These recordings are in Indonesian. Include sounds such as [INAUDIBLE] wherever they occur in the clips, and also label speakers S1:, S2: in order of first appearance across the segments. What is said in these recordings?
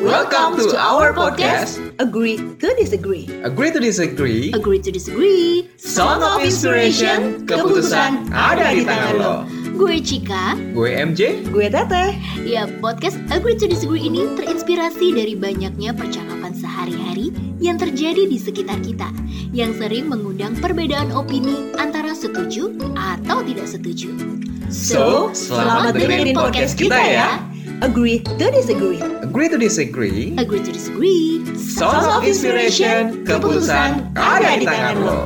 S1: Welcome to our podcast.
S2: Agree to disagree.
S1: Agree to disagree.
S2: Agree to disagree.
S1: Song of Inspiration. Keputusan ada di tangan lo.
S3: Gue Cika.
S1: Gue MJ.
S2: Gue Teteh.
S3: Ya, podcast Agree to Disagree ini terinspirasi dari banyaknya percakapan sehari-hari yang terjadi di sekitar kita yang sering mengundang perbedaan opini antara setuju atau tidak setuju.
S1: So, selamat dengerin podcast kita ya.
S2: Agree to disagree.
S1: Agree to disagree.
S3: Agree to Disagree.
S1: Song of Inspiration. Keputusan ada di tangan lo.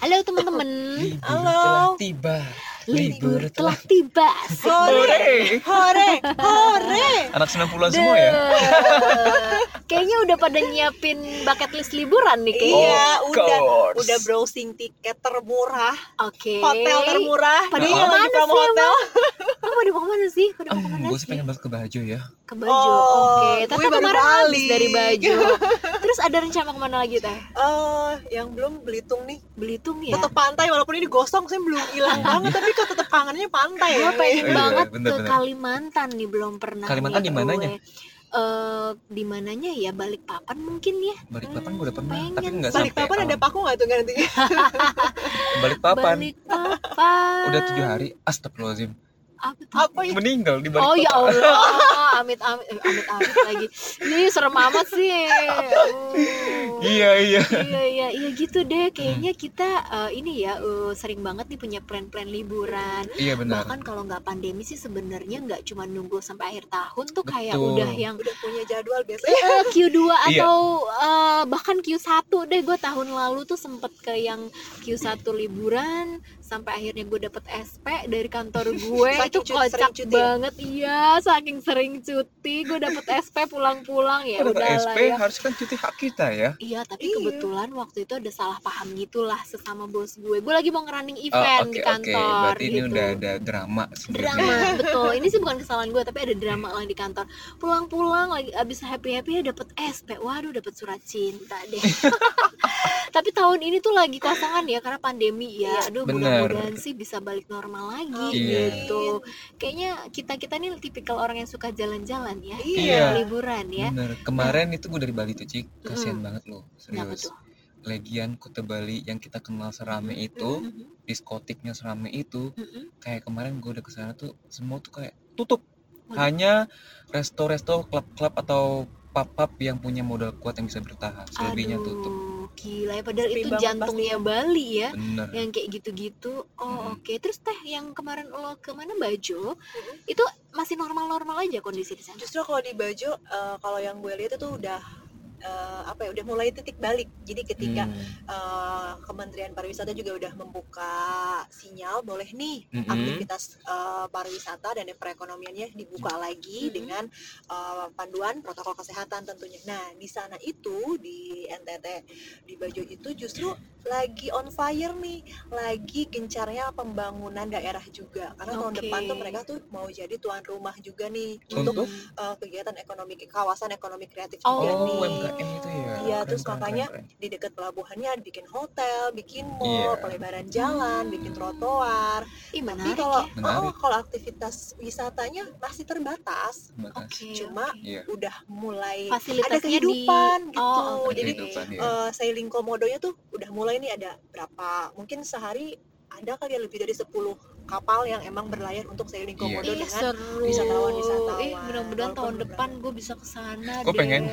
S3: Halo teman-teman,
S2: Halo.
S1: Tiba.
S3: libur telah tiba.
S2: Hore. Hore. Hore.
S1: Anak 90-an semua ya.
S3: Kayaknya udah pada nyiapin bucket list liburan nih kayaknya.
S2: Iya,
S1: Of
S2: udah
S1: course.
S2: udah browsing tiket termurah,
S3: Oke.
S2: hotel termurah.
S3: Padahal
S2: Iya,
S3: yang
S2: lagi
S3: mana
S2: promo
S3: sih
S2: hotel.
S3: Kamu pada mau kemana sih? Pada mau kemana
S1: gue sih
S3: sih?
S1: pengen banget ke Bajo ya.
S3: Ke Bajo.
S2: Oh,
S3: Oke. Tata
S2: gue baru
S3: kemarin habis
S2: balik. Iya.
S3: dari Bajo. Terus ada rencana kemana lagi teh?
S2: Eh, yang belum Belitung nih.
S3: Belitung ya.
S2: Tetap pantai walaupun ini gosong saya belum hilang banget tapi kok tetap kangennya pantai ya.
S3: Gue pengen
S1: Iya,
S3: banget
S1: bener,
S3: ke
S1: bener.
S3: Kalimantan nih belum pernah.
S1: Kalimantan
S3: nih
S1: di mananya?
S3: gue. Eh, di mananya ya Balikpapan mungkin ya.
S1: Balik papan gue udah pernah,
S3: Pengen.
S1: tapi nggak sampai.
S2: Balik papan ada
S1: awal.
S2: paku nggak tuh nantinya?
S1: Balik papan.
S3: Balikpapan.
S1: Udah tujuh hari. Astagfirullahaladzim.
S3: Apa tuh?
S2: Apa ya?
S1: [LAUGHS] Meninggal di balik
S3: Oh ya
S1: papan.
S3: Allah, amit amit eh, amit amit lagi. Ini serem amat sih. Hmm.
S1: [LAUGHS] Iya iya.
S3: Iya iya iya gitu deh. Kayaknya kita eh, ini ya eh, sering banget nih punya plan-plan liburan.
S1: Iya benar.
S3: Bahkan kalau nggak pandemi sih sebenarnya nggak cuma nunggu sampai akhir tahun tuh kayak
S1: Betul.
S3: udah yang
S2: Udah punya jadwal biasanya.
S3: eh, Q2
S1: Iya.
S3: atau eh, bahkan Q1 deh gue tahun lalu tuh sempet ke yang Q1 liburan sampai akhirnya gue dapet SP dari kantor gue
S2: Saking
S3: itu
S2: cu- sering
S3: kocak
S2: cuti ya?
S3: banget iya saking sering cuti gue dapet SP pulang-pulang ya
S1: Kalau
S3: udah lah
S1: SP
S3: ya
S1: harus kan cuti hak kita ya.
S3: Iya, tapi
S2: Iya.
S3: kebetulan waktu itu ada salah paham gitulah sesama bos gue. Gue lagi mau ngerunning
S1: Ah,
S3: event
S1: oke
S3: di
S1: oke.
S3: kantor
S1: Berarti ini
S3: gitu.
S1: udah ada drama sebelumnya.
S3: drama betul ini sih bukan kesalahan gue tapi ada drama lah di kantor pulang-pulang lagi abis happy happy ya dapat SP waduh dapat surat cinta deh [LAUGHS] tapi tahun ini tuh lagi kosongan ya karena pandemi ya aduh
S1: Bener.
S3: mudah-mudahan sih bisa balik normal lagi
S2: Oh,
S1: Iya.
S3: gitu kayaknya kita kita nih tipikal orang yang suka jalan-jalan ya
S2: Iya.
S3: liburan ya
S1: Bener. Kemarin itu gue dari Bali tuh Cik. Kasian
S3: Mm.
S1: banget loh.
S3: Kenapa
S1: Serius.
S3: tuh?
S1: Legian Kota Bali yang kita kenal serame itu,
S3: Mhm,
S1: diskotiknya serame itu,
S3: mhm.
S1: kayak kemarin gue udah kesana tuh semua tuh kayak tutup.
S3: Waduh.
S1: Hanya resto-resto, klub-klub atau pub-pub yang punya modal kuat yang bisa bertahan. Selebihnya
S3: Aduh,
S1: tutup.
S3: gila ya padahal
S2: Sepi
S3: itu
S2: banget
S3: jantungnya Bali ya
S1: Bener.
S3: yang kayak gitu-gitu oh
S1: Mm-mm.
S3: oke terus teh yang kemarin lo ke mana Bajo itu masih normal-normal aja kondisi di sana
S2: Justru kalau di Bajo eh, kalau yang gue lihat itu udah eh, apa ya udah mulai titik balik. Jadi ketika
S1: Hmm.
S2: eh, Kementerian Pariwisata juga udah membuka sinyal boleh nih
S1: Mm-mm.
S2: aktivitas eh, pariwisata dan perekonomiannya dibuka
S1: Hmm.
S2: lagi
S3: Mm-mm.
S2: dengan eh, panduan protokol kesehatan tentunya. Nah di sana itu di NTT di Bajo itu justru lagi on fire nih, lagi gencarnya pembangunan daerah juga karena tahun
S3: Oke.
S2: depan tuh mereka tuh mau jadi tuan rumah juga nih
S1: Untuk?
S2: untuk eh, kegiatan ekonomi kawasan ekonomi kreatif
S3: Oh,
S2: juga
S1: Oh,
S2: nih.
S1: UMKM itu ya.
S2: Iya,
S1: Keren, keren,
S2: terus
S1: keren,
S2: makanya
S1: keren.
S2: di dekat pelabuhannya bikin hotel, bikin mall,
S1: Iya.
S2: pelebaran jalan,
S3: Hmm.
S2: bikin trotoar.
S3: Ih,
S2: Tapi
S3: menarik
S2: kalau
S3: ya.
S1: Menarik.
S2: oh, kalau aktivitas wisatanya masih terbatas,
S1: Terbatas.
S3: Oke,
S2: cuma
S3: oke.
S1: Iya.
S2: udah mulai
S3: fasilitasnya
S2: ada kehidupan
S3: di...
S2: gitu.
S3: Oh, oke.
S2: Jadi,
S1: Kehidupan, iya.
S2: eh, sailing komodonya tuh udah mulai nih ada berapa? Mungkin sehari ada kali ya lebih dari 10 kapal yang emang berlayar untuk sailing
S1: Iya.
S2: komodo
S3: Ih,
S2: [LAUGHS] dengan
S3: seru.
S2: wisatawan-wisatawan.
S3: Ih, mudah-mudahan tahun
S2: kan? Walaupun
S3: depan gue bisa ke sana
S1: Gua
S3: [LAUGHS]
S1: pengen.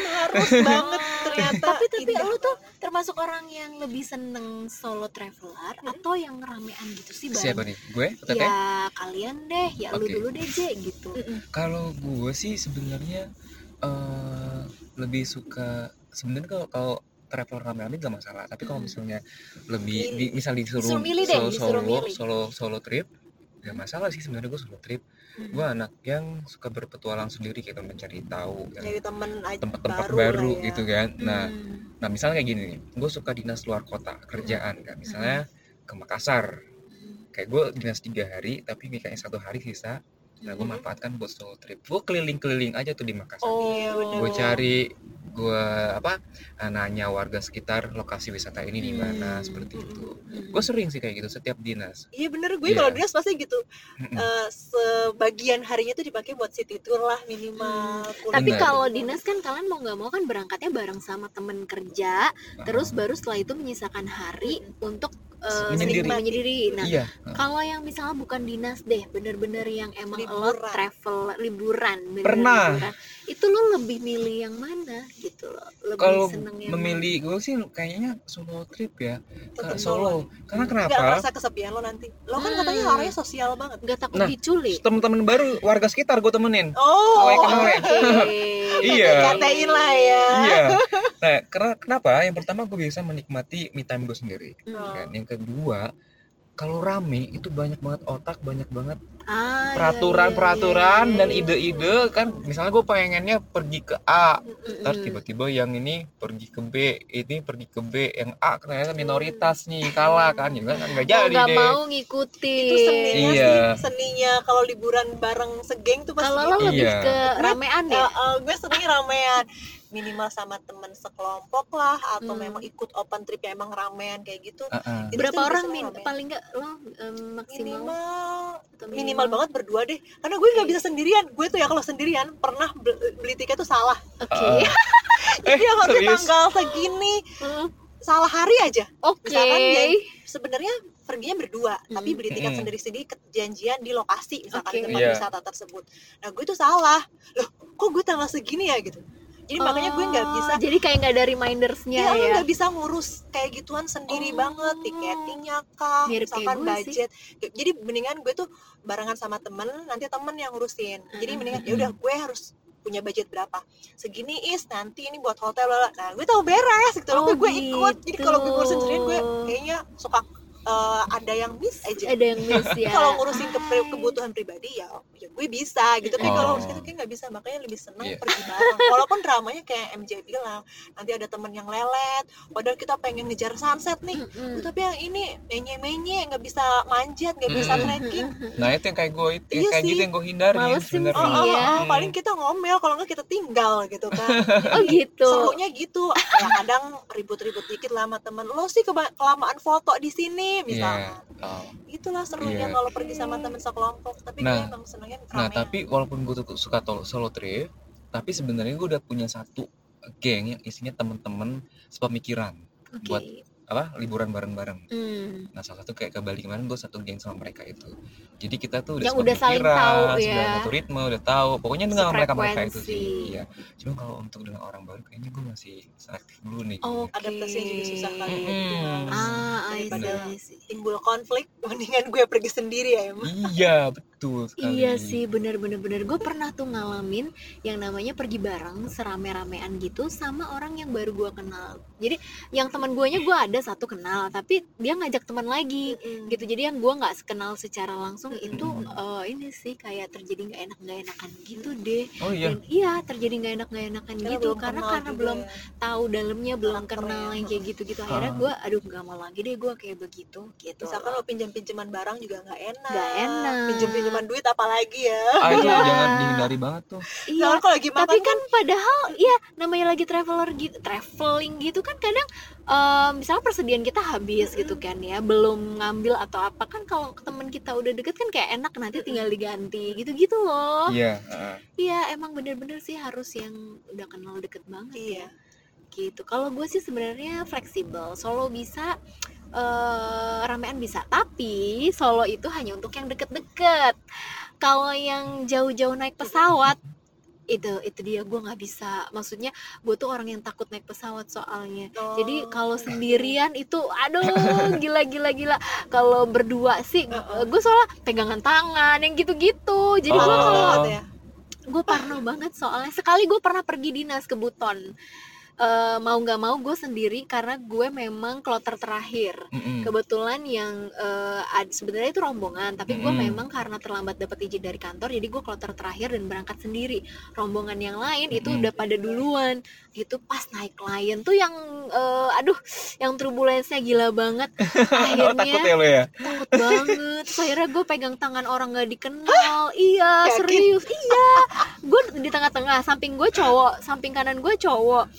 S2: harus [LAUGHS] banget ternyata.
S3: tapi tapi
S2: indah
S3: lu tuh termasuk orang yang lebih seneng solo traveler atau yang ramean gitu sih Bang?
S1: Siapa nih? Gue? Teteh?
S2: Iya.
S3: ya kalian deh ya lu
S1: Oke.
S3: dulu deh J gitu
S1: Kalau gue sih sebenarnya eh lebih suka sebenarnya kalau kalau traveler rame-rame gak masalah. Tapi kalau
S3: Mm.
S1: misalnya lebih di,
S2: Hmm. Milih.
S1: misal disuruh
S3: Disuruh milih deh,
S1: solo,
S3: disuruh
S1: solo,
S3: milih.
S1: solo solo trip gak masalah sih sebenarnya gue solo trip.
S3: Hmm.
S1: Gue anak yang suka berpetualang sendiri kayak mencari tahu yang
S2: Nyari temen aja
S1: Iya. tempat-tempat
S2: baru
S1: baru,
S2: lah ya.
S1: gitu kan. Nah,
S3: Hmm.
S1: nah misalnya kayak gini nih, gue suka dinas luar kota kerjaan kan. Misalnya ke Makassar, kayak gue dinas tiga hari tapi kayak satu hari sisa Nah, gue manfaatkan buat solo trip. Gue keliling-keliling aja tuh di Makassar.
S4: Oh,
S2: Iya, bener.
S1: Gue cari, gue apa? eh, Nanya warga sekitar lokasi wisata ini di mana
S2: Hmm.
S1: seperti itu. Gue sering sih kayak gitu setiap dinas.
S2: Iya bener,
S1: Iya.
S2: gue
S1: Hmm.
S2: kalau dinas pasti gitu.
S1: Mm-mm.
S2: Eh, sebagian harinya tuh dipakai buat city tour lah minimal. kuliah. Gitu.
S3: Tapi
S1: Benar.
S3: kalau dinas kan kalian mau nggak mau kan berangkatnya bareng sama temen kerja, terus baru setelah itu menyisakan hari untuk eh,
S1: Menyendiri.
S3: sendiri- menyendiri. Nah,
S1: iya.
S3: kalau yang misalnya bukan dinas deh, bener-bener yang emang lo
S2: Liburan.
S3: travel liburan, bener
S1: Pernah.
S3: liburan, itu lo lebih milih yang mana gitu loh? Lebih
S1: Kalau
S3: seneng yang
S1: memilih gue sih kayaknya solo trip ya. Ke
S2: Tetep
S1: Solo. Karena
S2: Nggak
S1: kenapa?
S2: merasa kesepian lo nanti. Lo kan
S3: Hmm.
S2: katanya orangnya sosial banget.
S3: nggak takut
S1: Nah,
S3: diculik?
S1: Teman-teman baru warga sekitar gue temenin.
S2: Oh,
S1: Kawai, kawai.
S2: [LAUGHS]
S1: [LAUGHS] Iya.
S2: katain lah ya.
S3: [LAUGHS]
S1: Iya. Nah, karena kenapa? Yang pertama gue bisa menikmati me time gue sendiri.
S3: Oh.
S2: Oh.
S1: kan. Yang kedua, kalau rame itu banyak banget otak, banyak banget
S3: Ah, iya,
S1: peraturan-peraturan
S3: iya,
S1: dan
S3: iya.
S1: ide-ide kan misalnya gue pengennya pergi ke A,
S3: Mm-mm.
S1: ntar tiba-tiba yang ini pergi ke B, ini pergi ke B, yang A ternyata minoritas nih kalah kan, ya kan nggak
S3: Mau
S1: jadi
S3: Hmm. Oh, nggak
S1: deh.
S3: mau ngikutin.
S2: Itu seninya
S1: Iya.
S2: sih, seninya kalau liburan bareng segeng tuh pasti
S3: Kalau lo
S2: gitu.
S3: lebih
S1: Iya.
S3: ke ramean
S2: Eh,
S3: ya?
S2: eh, gue sering ramean minimal sama temen sekelompok lah atau
S3: Hmm.
S2: memang ikut open trip yang emang ramean kayak gitu
S1: Heeh.
S2: Itu
S3: Berapa
S2: tuh
S3: orang
S2: biasanya
S3: min
S2: ramean.
S3: paling nggak lo em, maksimal?
S2: minimal
S3: atau
S2: minimal banget berdua deh karena gue nggak bisa sendirian gue tuh ya kalau sendirian pernah be- beli tiket tuh salah
S3: Oke. [LAUGHS]
S1: Eh,
S2: jadi yang harusnya
S1: serius?
S2: tanggal segini
S1: Ah.
S3: Hmm,
S2: salah hari aja
S3: [LAUGHS] Oke.
S2: Misalkan ya, dia sebenarnya perginya berdua
S3: Mm.
S2: tapi beli tiket
S1: Mm-mm.
S2: sendiri-sendiri ke janjian di lokasi misalkan
S3: Oke.
S2: di tempat
S1: Iya.
S2: wisata tersebut nah gue tuh salah loh kok gue tanggal segini ya gitu jadi makanya gue nggak
S3: Oh,
S2: bisa
S3: Jadi kayak nggak ada remindersnya
S2: Iya,
S3: ya.
S2: lo nggak bisa ngurus kayak gituan sendiri
S3: Oh.
S2: banget tiketingnya kah,
S3: Mirip kayak
S2: misalkan
S3: gue
S2: budget. Jadi mendingan gue tuh barengan sama temen, nanti temen yang ngurusin. Jadi
S3: Mm-mm.
S2: mendingan ya udah gue harus punya budget berapa segini is nanti ini buat hotel lah nah gue tahu beres gitu loh
S3: Oh,
S2: gue ikut jadi kalau gue ngurusin
S3: gitu.
S2: sendirian gue kayaknya suka eh, ada yang miss aja
S3: Ada yang miss ya.
S2: [LAUGHS] kalau ngurusin ke kebutuhan pribadi ya ya gue bisa gitu
S1: Oh.
S2: tapi kalau ngurusin itu kayak nggak bisa makanya lebih seneng
S1: Iya.
S2: pergi bareng walaupun dramanya kayak MJ bilang nanti ada temen yang lelet padahal kita pengen ngejar sunset nih
S3: Mm-mm.
S1: Hmm.
S2: tapi yang ini menye menye nggak bisa manjat nggak bisa
S1: Mm-mm. [LAUGHS]
S2: trekking
S1: Nah itu yang kayak gue itu, yang
S2: Iya
S1: kayak
S2: sih.
S1: gitu yang gue hindarin
S3: Malesin
S2: oh,
S1: sebenarnya.
S2: oh,
S3: Iya.
S2: oh, paling kita ngomel kalau nggak kita tinggal gitu kan
S3: Oh gitu.
S2: serunya gitu ya kadang ribut-ribut dikit lah sama temen lo sih keba- kelamaan foto di sini misalnya
S1: Oh.
S2: itulah serunya
S1: Iya.
S2: kalau pergi sama temen sekelompok tapi
S1: Nah.
S2: gue emang senengnya
S1: Nah
S2: ramean.
S1: tapi walaupun gue tuh suka tol- solo trip, tapi sebenarnya gue udah punya satu geng yang isinya temen-temen sepemikiran
S3: Oke.
S1: buat apa liburan bareng-bareng.
S3: Hmm.
S1: Nah salah satu kayak ke Bali kemarin gue satu geng sama mereka itu. Jadi kita tuh udah
S3: Yang udah saling
S1: sepemikiran,
S3: tahu
S1: sudah
S3: ya.
S1: satu ritme, udah tahu. Pokoknya dengan mereka mereka itu sih.
S3: Sefrekuensi.
S1: Iya. Cuma kalau untuk dengan orang baru kayaknya gue masih selektif dulu nih.
S3: Oke.
S2: adaptasinya juga susah kali ya.
S1: Mm-mm.
S3: Ah, I
S2: Daripada-
S3: see, I see.
S2: timbul konflik [LAUGHS] mendingan gue pergi sendiri ya emang
S1: Iya betul sekali.
S3: Iya sih bener-bener bener gue pernah tuh ngalamin yang namanya pergi bareng serame-ramean gitu sama orang yang baru gua kenal jadi yang teman guanya gue ada satu kenal tapi dia ngajak teman lagi gitu jadi yang gua nggak sekenal secara langsung itu eh, ini sih kayak terjadi nggak enak nggak enakan gitu deh
S1: Oh iya.
S3: dan iya terjadi nggak enak nggak enakan
S2: Karena
S3: gitu
S2: belum
S3: karena
S2: kenal
S3: karena
S2: juga
S3: belum
S2: ya.
S3: tahu dalamnya belum
S2: Karakternya.
S3: kenal yang kayak gitu-gitu akhirnya
S1: Ah.
S3: gua aduh nggak mau lagi deh gua kayak begitu gitu
S2: misalkan lo pinjam pinjaman barang juga nggak enak
S3: Nggak enak.
S2: pinjam pinjaman duit apalagi ya
S1: Ah itu
S3: Iya.
S1: jangan dihindari banget tuh.
S3: iya
S2: Soalnya kalau lagi makan
S3: tapi kan padahal iya namanya lagi traveler gitu traveling gitu kan kadang eh, misalnya persediaan kita habis gitu kan ya belum ngambil atau apa kan kalau temen kita udah deket kan kayak enak nanti tinggal diganti gitu gitu loh
S1: Iya. heeh.
S3: iya emang bener-bener sih harus yang udah kenal deket banget
S2: iya
S3: ya gitu kalau gue sih sebenarnya fleksibel solo bisa eh ramean bisa tapi solo itu hanya untuk yang deket-deket kalau yang jauh-jauh naik pesawat itu itu dia gue nggak bisa maksudnya gue tuh orang yang takut naik pesawat soalnya
S2: Oh.
S3: jadi kalau sendirian itu aduh gila gila gila. Kalau berdua sih
S2: Uh-uh.
S3: gue soalnya pegangan tangan yang gitu-gitu. Jadi
S2: Iya,
S1: Oh.
S3: gue kalau
S2: kalau ya
S3: gue parno banget soalnya sekali gue pernah pergi dinas ke Buton. eh, mau nggak mau gue sendiri karena gue memang kloter terakhir.
S1: Mm-mm.
S3: Kebetulan yang eh, ad- sebenarnya itu rombongan, tapi gue
S1: Mm-mm.
S3: memang karena terlambat dapat izin dari kantor, jadi gue kloter terakhir dan berangkat sendiri. Rombongan yang lain itu
S1: Mm-mm.
S3: udah pada duluan. Itu pas naik klien tuh yang, eh, aduh, yang turbulensnya gila banget.
S1: Oh, takut
S3: Akhirnya
S1: ya lo ya?
S3: takut banget. Terus akhirnya gue pegang tangan orang nggak dikenal. Iya,
S2: Yakin?
S3: serius. Iya, gue di tengah-tengah, samping gue cowok, samping kanan gue cowok.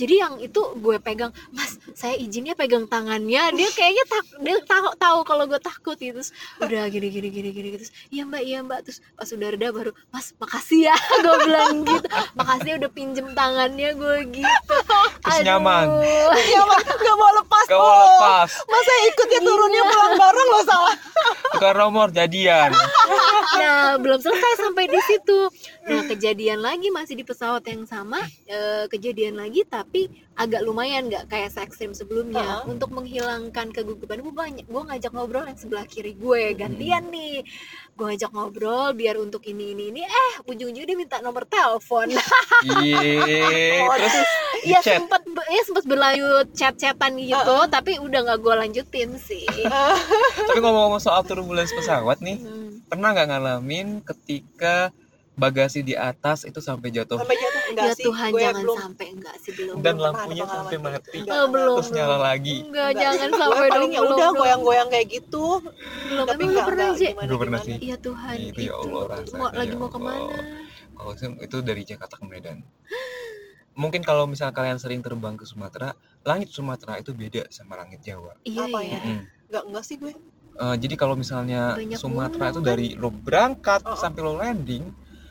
S3: Jadi yang itu gue pegang, Mas, saya izinnya pegang tangannya. Dia kayaknya tak, dia tahu tahu kalau gue takut gitu. Terus udah gini gini gini gini terus, iya Mbak, iya Mbak. Terus pas udah reda baru, Mas, makasih ya. [LAUGHS] gue bilang gitu. Makasih udah pinjem tangannya gue gitu.
S1: Terus nyaman.
S3: Aduh.
S2: Ya, Mas, nggak mau lepas
S1: Kau
S2: Pol.
S1: lepas,
S2: Mas saya ikut
S3: Iya.
S2: ya turunnya pulang bareng loh salah.
S1: tukar nomor jadian.
S3: Nah, belum selesai sampai di situ. Nah, kejadian lagi masih di pesawat yang sama, eh, kejadian lagi tapi agak lumayan nggak kayak se ekstrim sebelumnya.
S2: Uh-huh.
S3: Untuk menghilangkan kegugupan gue, gue ngajak ngobrol yang sebelah kiri gue gantian
S2: Hmm.
S3: nih. Gue ngajak ngobrol biar untuk ini ini ini. Eh, ujung-ujungnya dia minta nomor telepon.
S1: Iya, terus di
S3: [LAUGHS] Iya
S1: chat.
S3: sempet, ya sempet berlanjut chat-chatan gitu, tapi udah nggak gue lanjutin sih.
S1: Tapi ngomong-ngomong soal turbulence pesawat nih,
S3: Hmm.
S1: pernah nggak ngalamin ketika bagasi di atas itu sampai jatuh
S2: Sampai jatuh enggak
S3: Ya
S2: sih?
S3: Tuhan
S2: gue
S3: jangan
S2: belum
S3: sampai enggak sih belum.
S1: dan
S2: belum pernah
S1: lampunya
S2: ada
S1: sampai
S2: pengalaman
S1: mati,
S2: gitu.
S3: Oh, belum.
S1: terus nyala lagi?
S3: Enggak,
S2: Enggak.
S3: jangan
S2: Gue
S3: sampai
S2: paling
S3: dong,
S2: ya
S3: belum,
S2: udah
S3: belum.
S2: goyang-goyang kayak gitu.
S3: belum
S2: Tapi
S3: emang lu
S2: enggak
S3: pernah
S2: pernah
S3: sih
S1: Belum pernah sih.
S3: Iya Tuhan,
S1: Itu ya Allah rasanya,
S3: mau, lagi
S1: ya
S3: mau
S1: Allah.
S3: kemana?
S1: Kalau Oh, itu, itu dari Jakarta ke Medan. Mungkin kalau misal kalian sering terbang ke Sumatera, langit Sumatera itu beda sama langit Jawa.
S3: Iya
S2: Apa
S3: ya.
S2: ya?
S1: Mm.
S2: Enggak enggak sih gue.
S1: Eh, jadi kalau misalnya
S3: Banyak
S1: Sumatera
S3: gunung,
S1: itu
S3: kan?
S1: dari lo berangkat
S2: Oh, oh.
S1: sampai lo landing,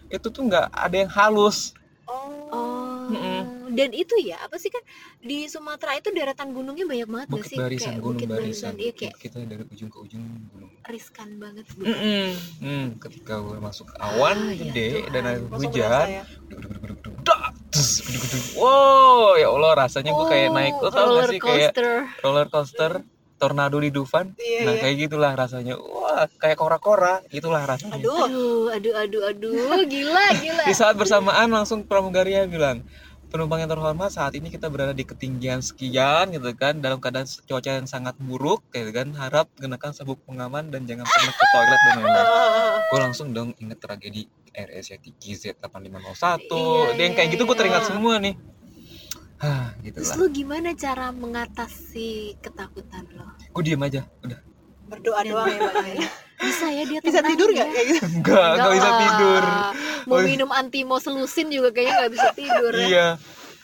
S1: itu tuh nggak ada yang halus.
S2: Oh.
S3: Oh,
S1: Mm-mm.
S3: dan itu ya apa sih kan di Sumatera itu daratan gunungnya banyak banget gak
S1: Bukit
S3: sih?
S1: barisan,
S3: Kayak
S1: gunung
S3: bukit
S1: barisan.
S3: Iya kayak
S1: Kita dari ujung ke ujung gunung.
S3: riskan banget.
S1: Mm-mm. iya, Hmm, ketika gue masuk ke awan
S3: Ah, ya
S1: gede
S3: Tuhan.
S1: dan ada
S2: Langsung
S1: hujan,
S2: berasa ya.
S1: duduk, duduk, duduk, duduk, dak, tus, duduk, duduk. wow ya Allah rasanya
S3: Oh,
S1: gue kayak naik lo tau gak
S3: roller
S1: sih kayak
S3: coaster.
S1: roller coaster tornado di Dufan
S2: Iya,
S1: nah
S2: iya.
S1: kayak gitulah rasanya wah kayak kora-kora itulah rasanya [LAUGHS]
S2: Aduh,
S3: Aduh, aduh, aduh, aduh, gila, gila.
S1: di saat bersamaan langsung pramugaria bilang penumpang yang terhormat saat ini kita berada di ketinggian sekian gitu kan dalam keadaan cuaca yang sangat buruk gitu kan harap kenakan sabuk pengaman dan jangan pernah ke toilet dan lain-lain gue langsung dong inget tragedi RS ya GZ8501
S3: Iya,
S1: dia yang kayak
S3: iya,
S1: gitu gue
S3: iya.
S1: teringat semua nih Hah, gitu
S3: Terus
S1: lah.
S3: lu gimana cara mengatasi ketakutan lo?
S1: Gue diem aja. Udah.
S2: berdoa doang ya
S3: [LAUGHS]
S2: Mbak.
S3: Bisa ya dia
S2: Bisa
S3: tenang
S2: tidur nggak
S3: ya?
S2: kayak gitu?
S1: Enggak, enggak bisa
S3: lah.
S1: tidur.
S3: Mau
S1: Nggak bisa.
S3: minum antimoselusin juga kayaknya nggak bisa tidur ya.
S1: Iya.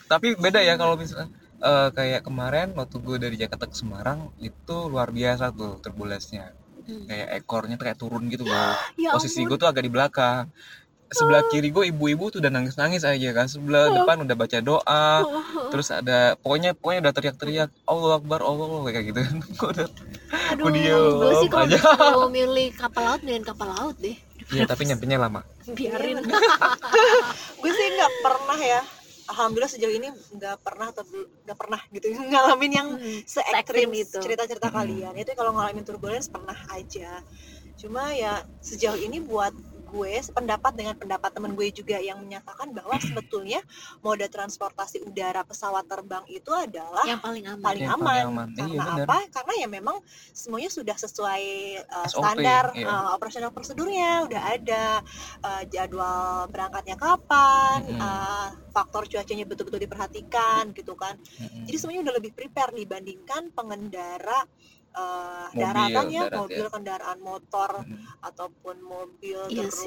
S1: Tapi beda ya kalau misalnya eh, kayak kemarin waktu gue dari Jakarta ke Semarang itu luar biasa tuh turbulensnya.
S3: Hmm.
S1: Kayak ekornya tuh kayak turun gitu loh.
S3: [GASPS] Ya
S1: Posisi
S3: ampun. [LAUGHS] Oh.
S1: gue tuh agak di belakang. Sebelah kiri gue ibu-ibu tuh udah nangis-nangis aja kan. Sebelah depan udah baca doa.
S3: Oh.
S1: Terus ada pokoknya pokoknya udah teriak-teriak Allah Akbar Allah Akbar, kayak gitu. [LAUGHS] Gue udah
S3: Aduh,
S1: diem
S3: gue sih kalau
S1: aja.
S3: misalnya mau milih kapal laut, mendingan kapal laut deh.
S1: Iya tapi nyampenya lama.
S2: Iya,
S3: Biarin.
S2: gue sih nggak pernah ya alhamdulillah sejauh ini nggak pernah atau bel- nggak pernah gitu [LAUGHS] ngalamin yang se ekstrim
S3: itu.
S2: itu cerita-cerita
S1: Mm.
S2: kalian itu kalau ngalamin turbulence pernah aja cuma ya sejauh ini buat gue sependapat dengan pendapat teman gue juga yang menyatakan bahwa sebetulnya moda transportasi udara pesawat terbang itu adalah
S3: [LAUGHS] Yang paling aman.
S2: paling
S1: Yang
S2: aman,
S1: paling aman. Iya,
S2: karena
S1: benar.
S2: apa karena ya memang semuanya sudah sesuai uh,
S1: SOP,
S2: standar
S1: iya.
S2: uh, operasional prosedurnya udah ada uh, jadwal berangkatnya kapan
S1: Mm-mm.
S2: uh, faktor cuacanya betul-betul diperhatikan gitu kan
S1: Mm-mm.
S2: jadi semuanya udah lebih prepare dibandingkan pengendara uh,
S1: Mobil,
S2: daratan ya
S1: darat,
S2: mobil kendaraan motor
S1: Mm-mm.
S2: ataupun mobil
S3: Iya
S2: terus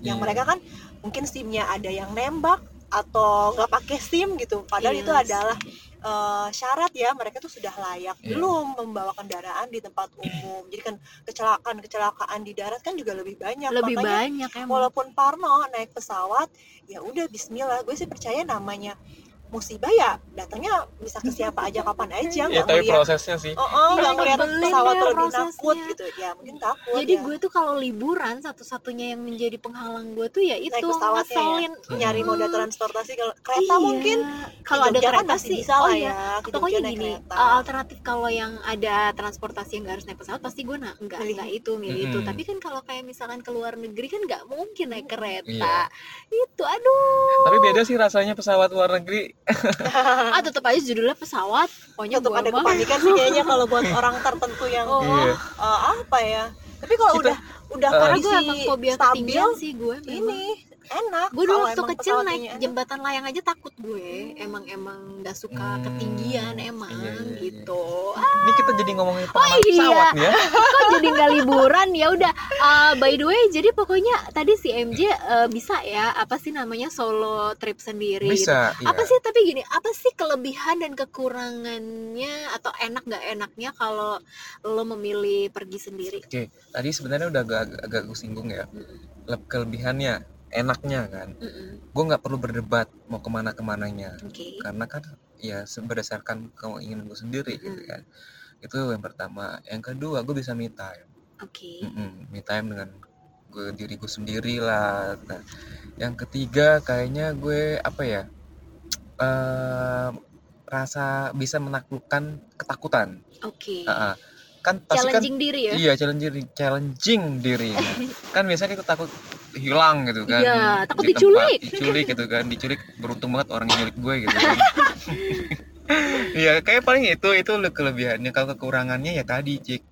S1: sih.
S2: yang
S1: Iya.
S2: mereka kan mungkin simnya ada yang nembak atau nggak pakai sim gitu padahal
S3: Iya
S2: itu
S3: sih.
S2: adalah eh, syarat ya mereka tuh sudah layak
S1: Iya.
S2: belum membawa kendaraan di tempat umum jadi kan kecelakaan kecelakaan di darat kan juga lebih banyak
S3: Lebih
S2: makanya
S3: banyak emang.
S2: walaupun Parno naik pesawat ya udah Bismillah gue sih percaya namanya musibah ya datangnya bisa ke siapa aja kapan aja
S1: Iya
S2: nggak
S1: tapi
S2: ngeliat
S1: prosesnya sih.
S2: oh, oh nggak
S3: Iya,
S2: ngeliat
S3: nyebelin
S2: pesawat
S3: ya
S2: lebih nakut
S3: prosesnya.
S2: gitu ya mungkin takut
S3: Jadi
S2: ya.
S3: gue tuh kalau liburan satu-satunya yang menjadi penghalang gue tuh ya itu
S2: pesawatnya ya.
S3: ngeselin.
S2: nyari
S3: Hmm.
S2: moda transportasi kalau kereta
S3: Iya.
S2: mungkin
S3: kalau ada
S2: Jogja kan
S3: kereta
S2: masih
S3: sih
S2: bisa
S3: oh
S2: lah
S3: iya
S2: ya ke
S3: pokoknya
S2: Jogja naik
S3: gini
S2: kereta
S3: uh, alternatif kalau yang ada transportasi yang nggak harus naik pesawat pasti gue na- nggak
S2: Milih.
S3: nggak itu milih itu
S1: Mm-mm.
S3: tapi kan kalau kayak misalkan ke luar negeri kan nggak mungkin naik kereta
S1: Iya.
S3: itu aduh
S1: Tapi beda sih rasanya pesawat luar negeri
S3: Ah tetap aja judulnya pesawat. Pokoknya
S2: Tetap
S3: gua
S2: ada
S3: mah-
S2: kepanikan
S3: [LAUGHS]
S2: sih kayaknya kalau buat orang tertentu yang
S3: Oh,
S1: Iya.
S2: eh, apa ya. Tapi kalau
S1: Kita-
S2: udah udah
S1: eh.
S3: Gitu. Karena
S2: kondisi
S3: gue Ah, emang fobia
S2: stabil
S3: ketinggian sih gue memang.
S2: ini enak.
S3: Gue dulu
S2: Kalau
S3: waktu
S2: emang
S3: kecil
S2: pesawat ini
S3: naik
S2: enak.
S3: jembatan layang aja takut gue Emang emang gak suka
S1: Hmm,
S3: ketinggian emang
S1: iya, iya, iya.
S3: gitu
S1: Ini kita jadi ngomongin pengalaman
S3: iya.
S1: pesawat nih ya.
S3: Kok jadi nggak liburan ya udah eh, by the way jadi pokoknya tadi si MJ eh, bisa ya apa sih namanya solo trip sendiri gitu.
S1: Bisa. Iya.
S3: apa sih tapi gini apa sih kelebihan dan kekurangannya atau enak nggak enaknya kalau lo memilih pergi sendiri
S1: Tadi sebenarnya udah agak agak, agak gue singgung ya. Leb- Kelebihannya, enaknya kan.
S3: Mm-mm,
S1: Gue nggak perlu berdebat mau kemana kemananya.
S3: oke
S1: Karena kan ya se- berdasarkan keinginan gue sendiri gitu
S3: Mm.
S1: kan. Itu yang pertama. Yang kedua, gue bisa me time.
S3: oke
S1: Mm-mm, me time dengan gue diri gue sendiri lah Nah, yang ketiga kayaknya gue apa ya eh, rasa bisa menaklukkan ketakutan
S3: oke
S1: Ah, ah. kan pasti kan
S3: challenging diri ya
S1: iya challenging challenging diri
S3: [LAUGHS]
S1: kan biasanya kita takut hilang gitu kan
S3: Iya, takut
S1: di tempat,
S3: diculik.
S1: diculik gitu kan diculik beruntung banget orang yang nyulik gue gitu
S3: [LAUGHS]
S1: kan iya kayak paling itu itu le- kelebihannya kalau kekurangannya ya tadi cik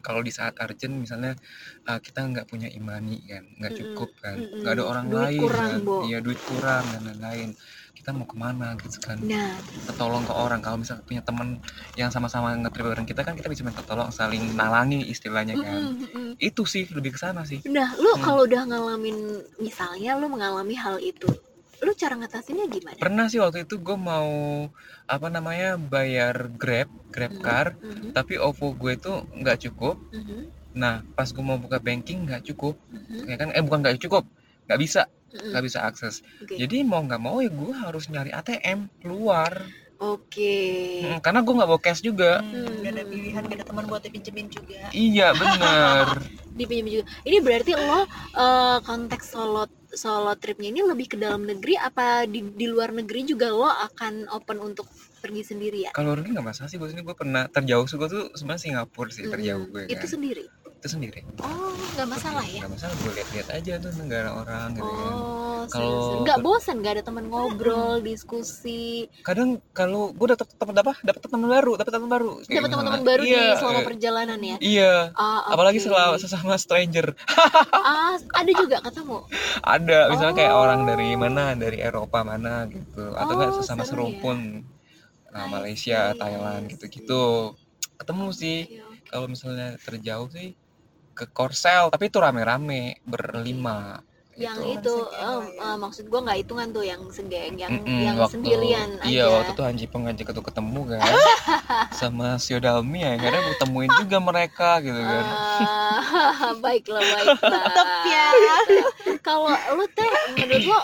S1: kalau di saat urgent misalnya uh, kita nggak punya imani kan nggak
S3: Mm-mm,
S1: cukup kan
S3: mm-mm.
S1: nggak ada orang
S3: Duit
S1: lain
S3: kurang,
S1: kan.
S3: Bo.
S1: iya duit kurang dan lain-lain kita mau kemana gitu kan
S3: nah
S1: minta tolong ke orang kalau misalnya punya teman yang sama-sama ngetrip bareng kita kan kita bisa minta tolong saling nalangi istilahnya kan
S3: mm-mm, mm-mm.
S1: itu sih lebih ke sana sih
S3: nah lo
S1: Hmm.
S3: kalau udah ngalamin misalnya lo mengalami hal itu lo cara ngatasinnya gimana
S1: pernah sih waktu itu gue mau apa namanya bayar grab grab
S3: Hmm.
S1: car
S3: Mhm,
S1: tapi ovo gue itu nggak cukup
S3: mhm,
S1: nah pas gue mau buka banking nggak cukup
S3: mhm,
S1: ya kan eh bukan nggak cukup nggak bisa
S3: mhm.
S1: nggak bisa akses
S3: Oke.
S1: jadi mau nggak mau ya gue harus nyari ATM keluar
S3: Oke.
S1: Mm,
S3: Iya.
S1: karena gue nggak bawa cash juga
S2: Hmm, gak ada pilihan, gak ada teman buat dipinjemin juga.
S1: iya bener
S3: Dipinjam juga. Ini berarti lo eh, konteks solo solo tripnya ini lebih ke dalam negeri apa di, di luar negeri juga lo akan open untuk pergi sendiri ya?
S1: kalau Rudi nggak masalah sih gue sini gue pernah terjauh gue tuh sebenarnya Singapura sih terjauh gue
S3: Mm-mm. Hmm, Itu
S1: kan
S3: sendiri.
S1: itu sendiri
S3: Oh, nggak masalah ya.
S1: nggak masalah gue lihat-lihat aja tuh negara orang gitu kan
S3: Oh,
S1: Kalau- Hmm.
S3: serius. Nggak bosan, nggak ada teman ngobrol, diskusi,
S1: kadang kalau gue dapet teman apa dapet teman baru dapet teman baru Kayak
S3: dapat teman-teman
S1: misalnya,
S3: baru
S1: iya,
S3: nih selama
S1: eh,
S3: perjalanan ya.
S1: iya
S3: Oh,
S1: apalagi
S3: oke.
S1: selama sesama stranger
S3: Ah, ada juga ketemu.
S1: ada misalnya kayak
S3: Oh.
S1: orang dari mana dari Eropa mana gitu atau nggak
S3: Oh,
S1: sesama
S3: seru ya.
S1: serumpun nah,
S3: I
S1: Malaysia
S3: see, I
S1: Thailand
S3: see.
S1: gitu-gitu ketemu sih
S3: Oke, oke.
S1: kalau misalnya terjauh sih ke Korsel tapi itu rame-rame berlima
S3: yang
S1: gitu.
S3: itu
S2: Yang sendiri
S3: em,
S2: lah ya.
S3: eh, maksud gua nggak hitungan tuh yang segeng yang
S1: Mm-mm,
S3: yang
S1: waktu-
S3: sendirian
S1: iya
S3: aja
S1: waktu itu Hanji Pengajak itu ketemu
S3: [LAUGHS]
S1: kan sama Siodalmi ya kadang gue temuin juga mereka gitu kan
S3: Ah, [LAUGHS]
S1: [LAUGHS]
S3: baiklah baiklah
S2: Tetep
S3: Iya.
S2: ya.
S3: kalau lu teh menurut lo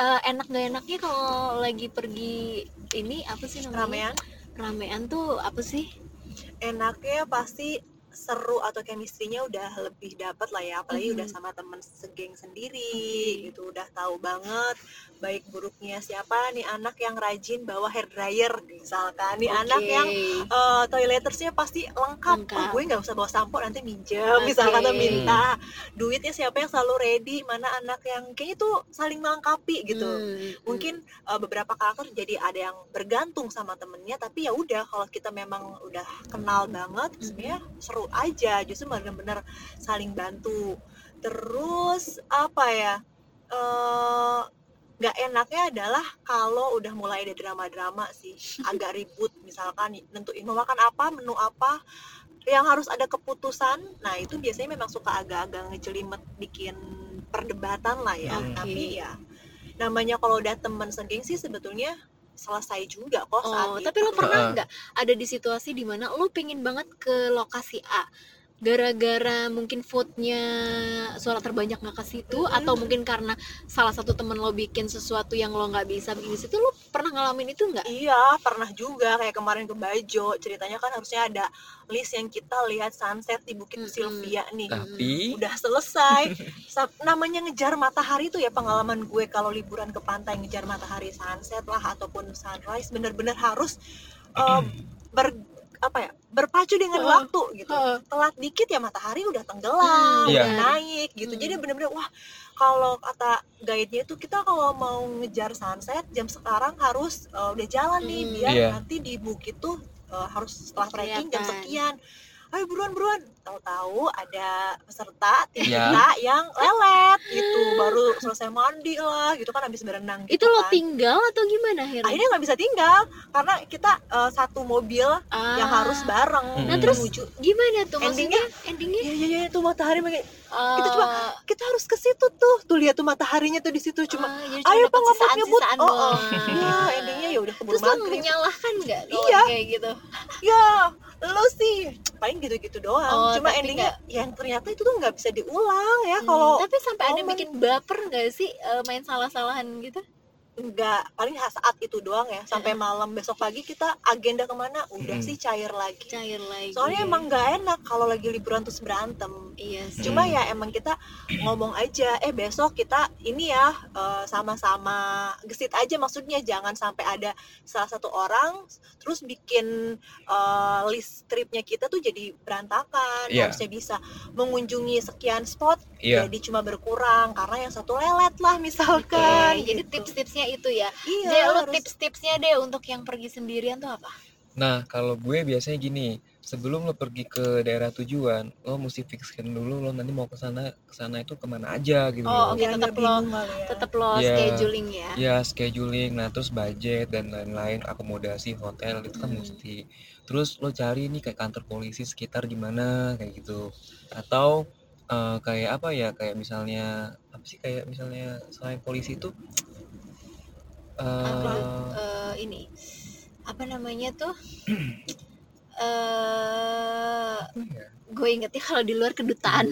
S3: eh, enak gak enaknya kalau lagi pergi ini apa sih namanya
S2: Ramean,
S3: ramean tuh apa sih
S2: enaknya pasti seru atau chemistry-nya udah lebih dapat lah ya apalagi
S3: Mhm.
S2: udah sama temen segeng sendiri
S3: Oke.
S2: gitu udah tahu banget baik buruknya siapa nih anak yang rajin bawa hair dryer misalkan nih anak
S3: Oke.
S2: yang eh, toiletersnya pasti lengkap,
S3: Lengkap.
S2: Oh, gue nggak usah bawa sampo nanti minjem
S3: Oke.
S2: misalkan atau minta duitnya siapa yang selalu ready mana anak yang kayaknya tuh saling melengkapi gitu
S3: Hmm,
S2: mungkin uh, beberapa karakter jadi ada yang bergantung sama temennya tapi ya udah kalau kita memang udah kenal banget sebenarnya seru aja justru benar-benar saling bantu terus apa ya eh, nggak enaknya adalah kalau udah mulai ada drama-drama sih agak ribut misalkan nentuin mau makan apa menu apa yang harus ada keputusan nah itu biasanya memang suka agak-agak ngejelimet bikin perdebatan lah ya
S1: Oke.
S2: tapi ya namanya kalau udah teman segeng sih sebetulnya selesai juga kok saat
S3: Oh,
S2: itu.
S3: tapi lo pernah
S1: Heeh.
S3: nggak ada di situasi dimana lo pengen banget ke lokasi A, gara-gara mungkin vote-nya suara terbanyak nggak ke situ,
S2: Mm-mm.
S3: atau mungkin karena salah satu temen lo bikin sesuatu yang lo nggak bisa bikin di situ, lo pernah ngalamin itu nggak?
S2: Iya, pernah juga kayak kemarin ke Bajo. Ceritanya kan harusnya ada list yang kita lihat sunset di Bukit
S3: Mm-mm.
S2: Sylvia
S3: iya.
S2: nih.
S1: Ah. tapi
S2: Udah selesai. Sa- namanya ngejar matahari tuh ya pengalaman gue kalau liburan ke pantai ngejar matahari sunset lah ataupun sunrise bener-bener harus eh, ber apa ya berpacu dengan
S3: Heeh.
S2: waktu gitu
S3: Heeh.
S2: telat dikit ya matahari udah tenggelam
S1: Iya.
S2: udah naik gitu
S3: Hmm.
S2: jadi bener-bener wah kalau kata guide-nya itu kita kalau mau ngejar sunset jam sekarang harus eh, udah jalan nih
S3: Hmm.
S2: biar
S1: Iya.
S2: nanti di bukit tuh eh, harus setelah trekking jam
S3: Kelihatan.
S2: sekian ayo buruan buruan tahu-tahu ada peserta tim
S1: Iya.
S2: kita yang lelet gitu baru selesai mandi lah gitu kan habis berenang gitu
S3: Itu lo
S2: kan.
S3: tinggal atau gimana Her?
S2: akhirnya nggak bisa tinggal karena kita eh, satu mobil
S3: Ah.
S2: yang harus bareng
S1: Nah,
S3: terus-
S2: menuju
S3: gimana tuh
S2: Endingnya?
S3: maksudnya? Endingnya? Eh,
S2: Iya iya iya itu matahari makin-
S3: Itu
S2: Kita cuma kita harus ke situ tuh. Tuh lihat tuh mataharinya tuh di situ cuma
S3: ya
S2: ayo, Pak, ngebut, ngebut. Oh, oh. [LAUGHS] ya endingnya ya udah keburu
S3: Ah. Terus lo
S2: maghrib.
S3: menyalahkan nggak? kalau
S2: Iya.
S3: Kayak gitu.
S2: Ya lu sih paling gitu-gitu doang.
S3: Oh,
S2: cuma
S3: tapi Hmm.
S2: endingnya yang ternyata itu tuh nggak bisa diulang ya kalau Oh
S3: tapi sampai ada
S2: momen-
S3: bikin baper nggak sih eh, main salah-salahan gitu?
S2: nggak paling saat itu doang ya sampai malam besok pagi kita agenda kemana udah
S1: Mm-mm.
S2: sih cair lagi
S3: Cair lagi.
S2: soalnya emang nggak enak kalau lagi liburan terus berantem
S3: Iya sih.
S2: cuma
S1: Hmm.
S2: ya emang kita ngomong aja eh besok kita ini ya eh, sama-sama gesit aja maksudnya jangan sampai ada salah satu orang terus bikin eh, list tripnya kita tuh jadi berantakan
S1: Iya.
S2: harusnya bisa mengunjungi sekian spot
S1: Iya.
S2: jadi cuma berkurang karena yang satu lelet lah
S3: Oke,
S2: misalkan
S3: Iya, jadi
S2: gitu.
S3: tips-tipsnya itu ya.
S2: iya
S3: Jadi lo
S2: harus-
S3: tips-tipsnya deh untuk yang pergi sendirian tuh apa?
S1: Nah, kalau gue biasanya gini, sebelum lo pergi ke daerah tujuan, lo mesti fixkan dulu lo nanti mau ke sana, ke sana itu kemana aja gitu. loh.
S3: Oh, oke.
S2: biar nggak
S3: tetep lo-
S2: bingung kali ya.
S3: Tetap lo
S1: Iya.
S3: scheduling ya.
S1: Ya, scheduling, nah terus budget dan lain-lain, akomodasi, hotel itu kan
S3: Hmm.
S1: mesti. Terus lo cari nih kayak kantor polisi sekitar gimana kayak gitu. Atau eh, kayak apa ya? Kayak misalnya apa sih kayak misalnya selain polisi itu
S3: Apa?
S1: eh
S3: Eh, ini apa namanya tuh? [CLEARS THROAT] eh
S1: Iya.
S3: gue ingetnya kalau di luar kedutaan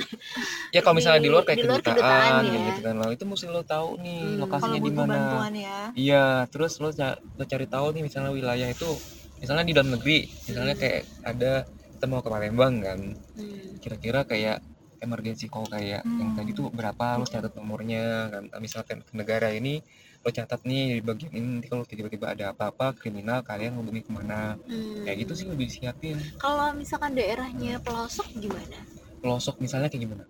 S1: ya kalau misalnya di luar
S3: di-
S1: kayak
S3: di luar
S1: kedutaan,
S3: kedutaan
S1: kayak
S3: ya.
S1: gitu kan lo itu mesti lo tahu nih
S3: Hmm.
S2: kalau
S1: lokasinya di
S2: butuh
S1: mana.
S2: bantuan ya
S1: Iya, terus lo, ca- lo cari tahu nih misalnya wilayah itu, misalnya di dalam negeri, misalnya
S3: Hmm.
S1: kayak ada kita mau ke Palembang kan,
S3: Hmm.
S1: kira-kira kayak emergency call kayak yang
S2: Hmm.
S1: tadi tuh berapa, lo catat nomornya kan, Nah, misalnya ke- ke negara ini lo catat nih di bagian ini nanti kalau tiba-tiba ada apa-apa kriminal kalian hubungi kemana
S3: Hmm.
S1: kayak gitu sih lebih disiapin
S3: Kalau misalkan daerahnya pelosok gimana?
S1: pelosok misalnya kayak gimana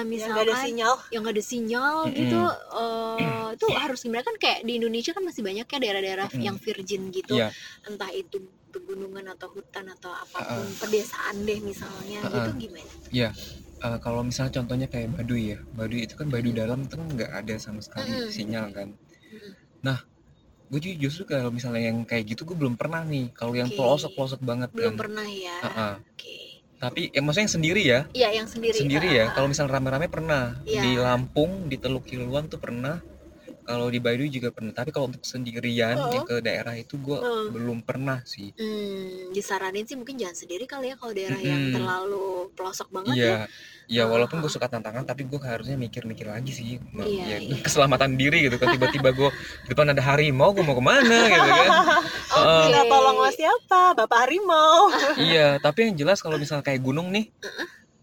S2: Yang nggak
S3: misalkan
S2: ada sinyal
S3: yang nggak ada sinyal
S1: Mm-mm.
S3: gitu, eh, itu harus gimana kan kayak di Indonesia kan masih banyak ya daerah-daerah
S1: Mm-mm.
S3: yang virgin gitu,
S1: Iya.
S3: entah itu pegunungan atau hutan atau apapun pedesaan deh misalnya
S1: Uh-uh.
S3: gitu gimana?
S1: Eh, kalau misalnya contohnya kayak Baduy ya Baduy itu kan Baduy dalam itu kan nggak ada sama sekali
S3: Mm-mm.
S1: sinyal kan
S3: Mm-mm.
S1: nah gue ju- justru kalau misalnya yang kayak gitu gue belum pernah nih kalau yang
S3: Oke.
S1: pelosok pelosok banget kan
S3: Belum pernah ya?
S1: Ha-ha.
S3: Oke,
S1: tapi ya maksudnya yang sendiri ya
S3: Iya yang sendiri.
S1: sendiri
S3: uh-uh.
S1: ya kalau misalnya rame-rame pernah
S3: Iya.
S1: di Lampung di Teluk Kiluan tuh pernah kalau di Baduy juga pernah tapi kalau untuk sendirian
S2: Oh.
S1: ya ke daerah itu gue
S3: Oh.
S1: belum pernah sih
S3: Hmm, disaranin sih mungkin jangan sendiri kali ya kalau daerah yang
S1: Mm-mm.
S3: terlalu pelosok banget ya.
S1: Iya, iya
S3: Ah,
S1: walaupun gue suka tantangan tapi gue harusnya mikir-mikir lagi sih, Nah,
S3: Iya,
S1: ya,
S3: iya.
S1: keselamatan diri gitu kan tiba-tiba gue di depan ada harimau gue mau kemana gitu
S3: [LAUGHS]
S1: kan. Heeh.
S2: Minta Iya, tolong sama siapa? Bapak harimau.
S1: iya, tapi yang jelas kalau misalnya kayak gunung nih,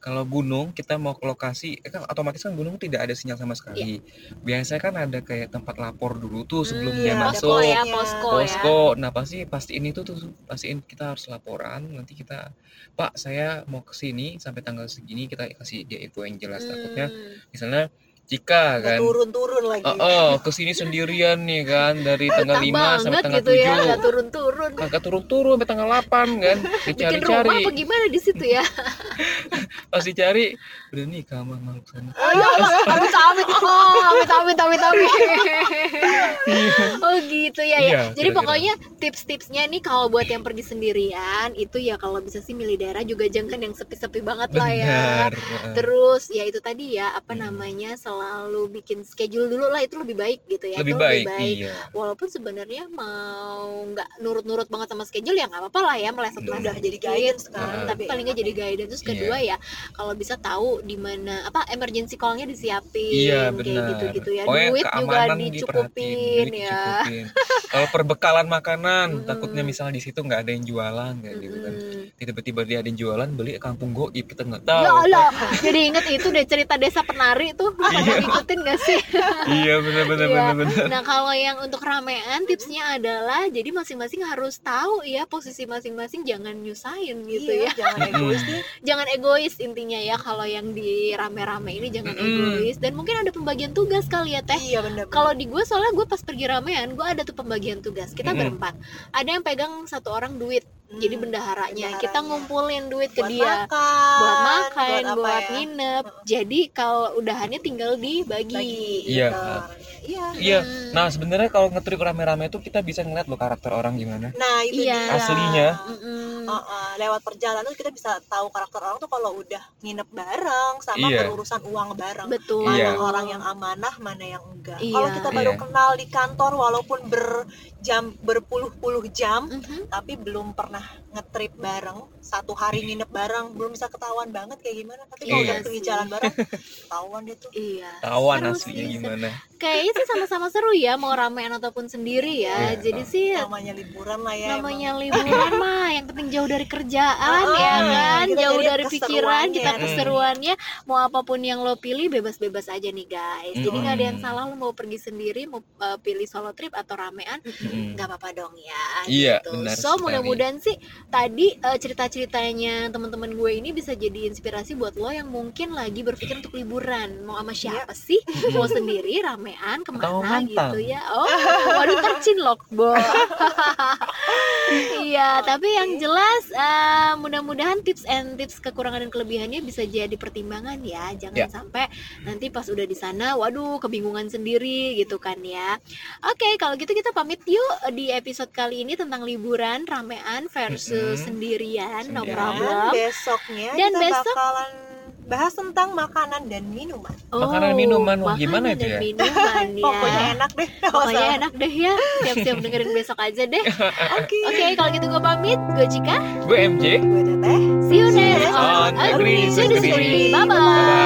S1: kalau gunung kita mau ke lokasi, eh, kan otomatis kan gunung tidak ada sinyal sama sekali. Biasanya kan ada kayak tempat lapor dulu tuh sebelum dia
S2: iya,
S3: Iya. Hmm,
S2: ada
S1: masuk.
S3: Posko ya,
S2: Iya.
S3: posko, ya.
S1: posko. Nah pasti pastiin itu tuh pastiin kita harus laporan. Nanti kita Pak saya mau ke sini sampai tanggal segini kita kasih dia info yang jelas takutnya
S3: Hmm.
S1: misalnya Cika
S2: Nggak
S1: kan.
S2: Turun-turun lagi.
S1: Oh, oh kesini sendirian nih kan dari tanggal
S3: Betah
S1: 5 sampai
S3: banget
S1: tanggal
S3: gitu ya, nggak
S1: 7
S3: turun-turun.
S1: Kagak turun-turun sampai tanggal 8 kan
S3: Bikin rumah
S1: Dicari-cari
S3: apa gimana di situ ya?
S1: Pas dicari Udah nih kamar makhluk sana
S3: Ya amit amit oh amit amit amit amit oh gitu ya ya
S1: Iya,
S3: jadi
S1: kira-kira.
S3: pokoknya tips-tipsnya nih kalau buat yang pergi sendirian itu ya kalau bisa sih milih daerah juga jangan yang sepi-sepi banget lah ya
S1: Benar
S3: terus ya itu tadi ya apa
S1: Hmm.
S3: namanya selalu bikin schedule dulu lah itu lebih baik gitu ya
S1: Lebih
S3: itu
S1: baik Iya
S3: walaupun sebenarnya mau nggak nurut-nurut banget sama schedule ya nggak apa-apa lah ya meleset
S1: Hmm.
S3: meleset
S2: Udah jadi
S3: dikit.
S2: guidance kan.
S1: Ah.
S3: tapi paling nggak jadi guidance terus kedua ya kalau bisa tahu di mana apa emergency call-nya disiapin
S1: Iya
S3: kayak
S1: benar.
S3: gitu-gitu ya.
S1: Pokoknya
S3: Duit juga
S1: keamanan diperhatiin,
S3: dicukupin
S1: duit
S3: ya.
S1: dicukupin. Kalau perbekalan makanan,
S3: Mm-mm.
S1: takutnya misalnya di situ nggak ada yang jualan kayak gitu kan.
S3: Mm-mm.
S1: Tiba-tiba dia ada yang jualan beli kampung goib kita nggak tahu.
S3: Ya Allah, [LAUGHS] jadi inget itu deh cerita desa penari tuh
S1: Iya.
S3: Kamu ngikutin gak sih?
S1: [LAUGHS] iya benar-benar
S3: Iya.
S1: benar-benar.
S3: Nah kalau yang untuk ramean tipsnya adalah jadi masing-masing harus tahu ya posisi masing-masing jangan nyusahin gitu
S2: iya,
S3: ya
S2: jangan
S1: Mm-mm.
S2: egois deh
S3: jangan egois intinya ya kalau yang di rame-rame ini jangan
S1: Mm-mm.
S3: egois dan mungkin ada pembagian tugas kali ya teh
S2: iya bener
S3: kalau di gue soalnya gue pas pergi ramean gue ada tuh pembagian tugas kita
S1: Mm-mm.
S3: berempat ada yang pegang satu orang duit jadi bendaharanya kita
S2: bendaharanya.
S3: ngumpulin duit ke
S2: buat
S3: dia
S2: makan
S3: buat makan
S2: apa
S3: buat,
S2: ya?
S3: nginep
S2: Mm-mm.
S3: jadi kalau udahannya tinggal dibagi
S2: bagi
S1: Iya.
S2: gitu orangnya. iya
S1: Iya.
S3: Hmm.
S1: Nah sebenarnya kalau ngetrip rame-rame itu kita bisa ngeliat loh karakter orang gimana.
S2: nah itu
S3: Iya.
S2: dia
S1: Aslinya.
S3: Mm-mm.
S2: Uh, uh, lewat perjalanan kita bisa tahu karakter orang tuh kalau udah nginep bareng sama
S1: Iya.
S2: berurusan uang bareng
S3: betul
S2: mana
S1: Iya.
S2: orang yang amanah mana yang enggak
S3: Iya.
S2: kalau kita baru
S1: Iya.
S2: kenal di kantor walaupun berjam berpuluh-puluh jam
S3: Mhm.
S2: tapi belum pernah ngetrip bareng satu hari nginep bareng belum bisa ketahuan banget kayak gimana tapi kalau
S1: Iya
S2: udah pergi
S3: sih.
S2: jalan bareng ketahuan deh tuh
S3: iya
S1: Tawan
S3: Seru
S1: aslinya
S3: sih,
S1: gimana.
S3: kayaknya sih sama-sama seru ya mau ramean ataupun sendiri ya
S1: Iya.
S3: jadi sih
S2: namanya liburan lah ya emang.
S3: namanya liburan mah yang penting jauh dari kerjaan
S2: Oh,
S3: ya kan
S2: kita
S3: jauh
S2: jadi
S3: dari pikiran
S2: keseruannya.
S3: kita
S1: Hmm.
S3: keseruannya mau apapun yang lo pilih bebas-bebas aja nih guys jadi nggak ada yang
S1: Mm.
S3: salah lo mau pergi sendiri mau uh, pilih solo trip atau ramean
S1: Mm-mm.
S3: nggak apa-apa dong ya
S1: Hmm. Iya,
S3: gitu.
S1: benar
S3: so
S1: sekali.
S3: mudah-mudahan sih tadi uh, cerita-ceritanya teman-teman gue ini bisa jadi inspirasi buat lo yang mungkin lagi berpikir untuk liburan mau sama siapa sih
S1: [LAUGHS]
S3: mau sendiri ramean
S1: Atau
S3: kemana
S1: mantan.
S3: gitu ya oh waduh tercinlok
S1: [LAUGHS]
S3: bo iya tapi yang jelas eh, mudah-mudahan tips and tips kekurangan dan kelebihannya bisa jadi pertimbangan ya jangan
S1: Ya.
S3: sampai nanti pas udah di sana waduh kebingungan sendiri gitu kan ya oke kalau gitu kita pamit yuk di episode kali ini tentang liburan ramean versus
S1: Mm-mm.
S3: sendirian no
S1: Sendirian.
S3: problem
S2: Dan besoknya
S3: Dan
S2: kita
S3: besok-
S2: bakalan bahas tentang makanan dan minuman
S1: Makanan, minuman, wah, gimana
S3: Oh, makanan
S1: itu
S3: dan
S1: ya? [LAUGHS]
S3: minuman ya
S2: pokoknya enak deh [LAUGHS]
S3: Pokoknya enak deh ya Siap-siap dengerin besok aja deh
S2: oke
S3: Oke kalau gitu gue pamit Gue Cika
S1: Gue MJ.
S2: gue teteh
S3: See you next
S2: next
S3: on
S1: on
S3: Agri
S1: Agri
S3: to
S1: Disagree.
S3: Bye bye